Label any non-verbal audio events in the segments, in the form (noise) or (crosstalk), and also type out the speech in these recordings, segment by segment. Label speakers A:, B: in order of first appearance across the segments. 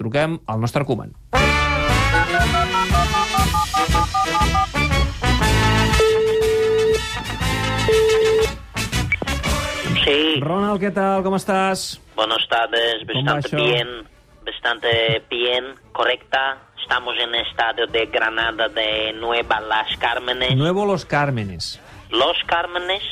A: Truquem al nostre Koeman.
B: Sí,
A: Ronald, què tal? Com estàs?
B: buenas tardes,
A: ¿Cómo va eso?
B: bastante bien, bastante bien, correcta. Estamos en el estadio de Granada de Nueva Las Cármenes.
A: Nuevo Los Cármenes.
B: Los Cármenes,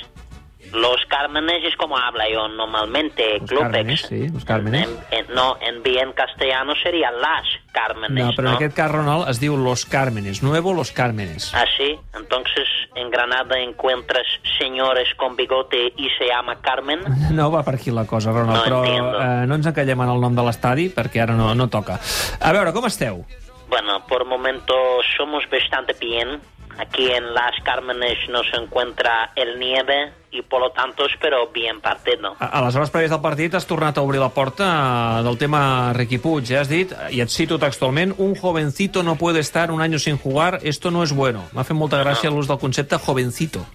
B: Los Cármenes es como habla yo normalmente,
A: Los
B: Clubex.
A: Cármenes, sí, Los Cármenes.
B: En- en- no, en bien castellano sería Las Cármenes,
A: No,
B: ¿no?
A: però en aquest cas, Ronald, es diu Los Cármenes. Nuevo Los Cármenes. (laughs)
B: Ah, sí. Entonces, en Granada encuentras señores con bigote y se llama Carmen.
A: No va per aquí la cosa, Ronald,
B: No
A: però
B: entiendo.
A: eh, no ens encallem en el nom de l'estadi perquè ara no, no toca. A veure, com esteu?
B: Bueno, por momento somos bastante bien. Aquí en Las Cármenes nos encuentra el nieve y por lo tanto espero bien partido.
A: A, a les hores prèvies del partit has tornat a obrir la porta eh, del tema Riqui Puig, eh? has dit, i et cito textualment, un jovencito no puede estar un año sin jugar, esto no es bueno. M'ha fet molta gràcia l'ús del concepte jovencito.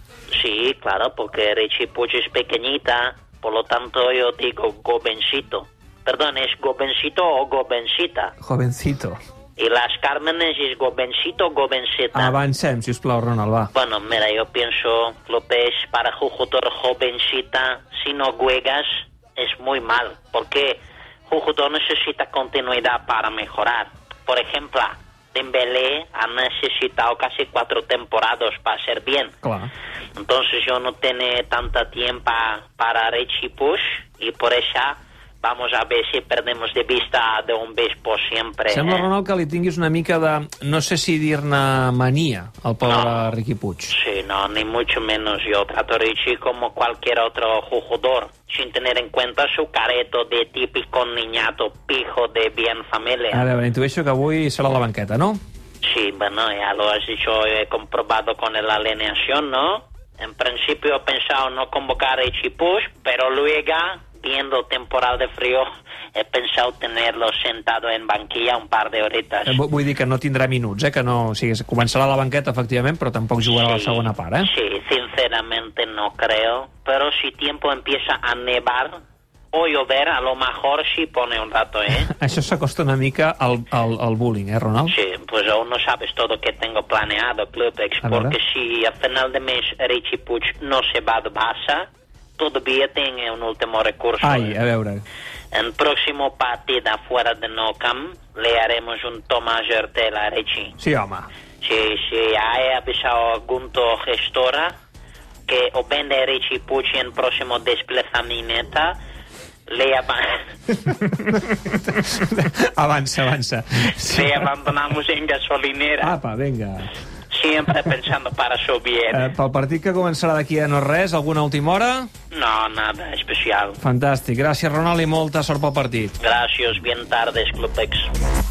B: Sí, claro, porque Richie Puig es pequeñita, por lo tanto yo digo gobencito. Perdón, es gobencito o gobencita.
A: Jovencito.
B: Y Las Cármenes es gobencito o
A: Ah,
B: gobencita.
A: Avancem, si us plau, Ronald, va.
B: Bueno, mira, yo pienso lo que es para jugador jovencita, si no juegas, es muy mal, porque jugador necesita continuidad para mejorar. Por ejemplo, Dembélé ha necesitado casi cuatro temporadas para ser bien.
A: Clar.
B: Entonces yo no tiene tanta tiempo para Richie Push y por eso vamos a ver si perdemos de vista de un vez por siempre.
A: Sembla,
B: ¿eh?
A: Ronald, que li tinguis una mica de... No sé si dir-ne mania al pobre no.
B: No.
A: Riqui Puig.
B: Sí, no, ni mucho menos. Yo trato a Richie como cualquier otro jugador, sin tener en cuenta su careto de típico niñato pijo de bien
A: A
B: familia.
A: veure, intueixo que avui serà a la banqueta, no?
B: Sí, bueno, ya lo has dicho, he comprobado con la alineación, ¿no? En principio he pensado no convocar a Richie Push, pero luego, viendo temporal de frío, he pensado tenerlo sentado en banquilla un par de horitas.
A: Eh, vu- Vull dir que no tindrà minuts, eh? Que no... O sigui, començarà a la banqueta, efectivament, però tampoc jugarà a la segona part, eh? (laughs)
B: Sí, sinceramente no creo. Pero si tiempo empieza a nevar o llover, a lo mejor sí pone un rato,
A: (laughs)
B: ¿eh?
A: Això s'acosta una mica al, al, al bullying, eh, Ronald?
B: Sí, pues aún no sabes todo que tengo planeado, Clubex,
A: A ver.
B: porque si a final de mes Richie Puig no se va de Barça, todavía tiene un último recurso.
A: Ai,
B: ¿eh?
A: a veure...
B: En próximo partido afuera de No Camp le haremos un Tomás Gertel a Richie.
A: Sí, home. (laughs)
B: Sí, sí, ha avisado a Gunto Gestora que o vende Richie Pucci en próximo desplazamiento, le, aba-
A: avança, avança. Sí.
B: le abandonamos en gasolinera,
A: Apa, vinga.
B: siempre pensando para su
A: Eh,
B: bien.
A: pel partit que començarà d'aquí a no res, alguna última hora?
B: No, nada especial.
A: Fantàstic. Gràcies, Ronald, i molta sort pel partit.
B: Gracias, bien tardes, Clubex.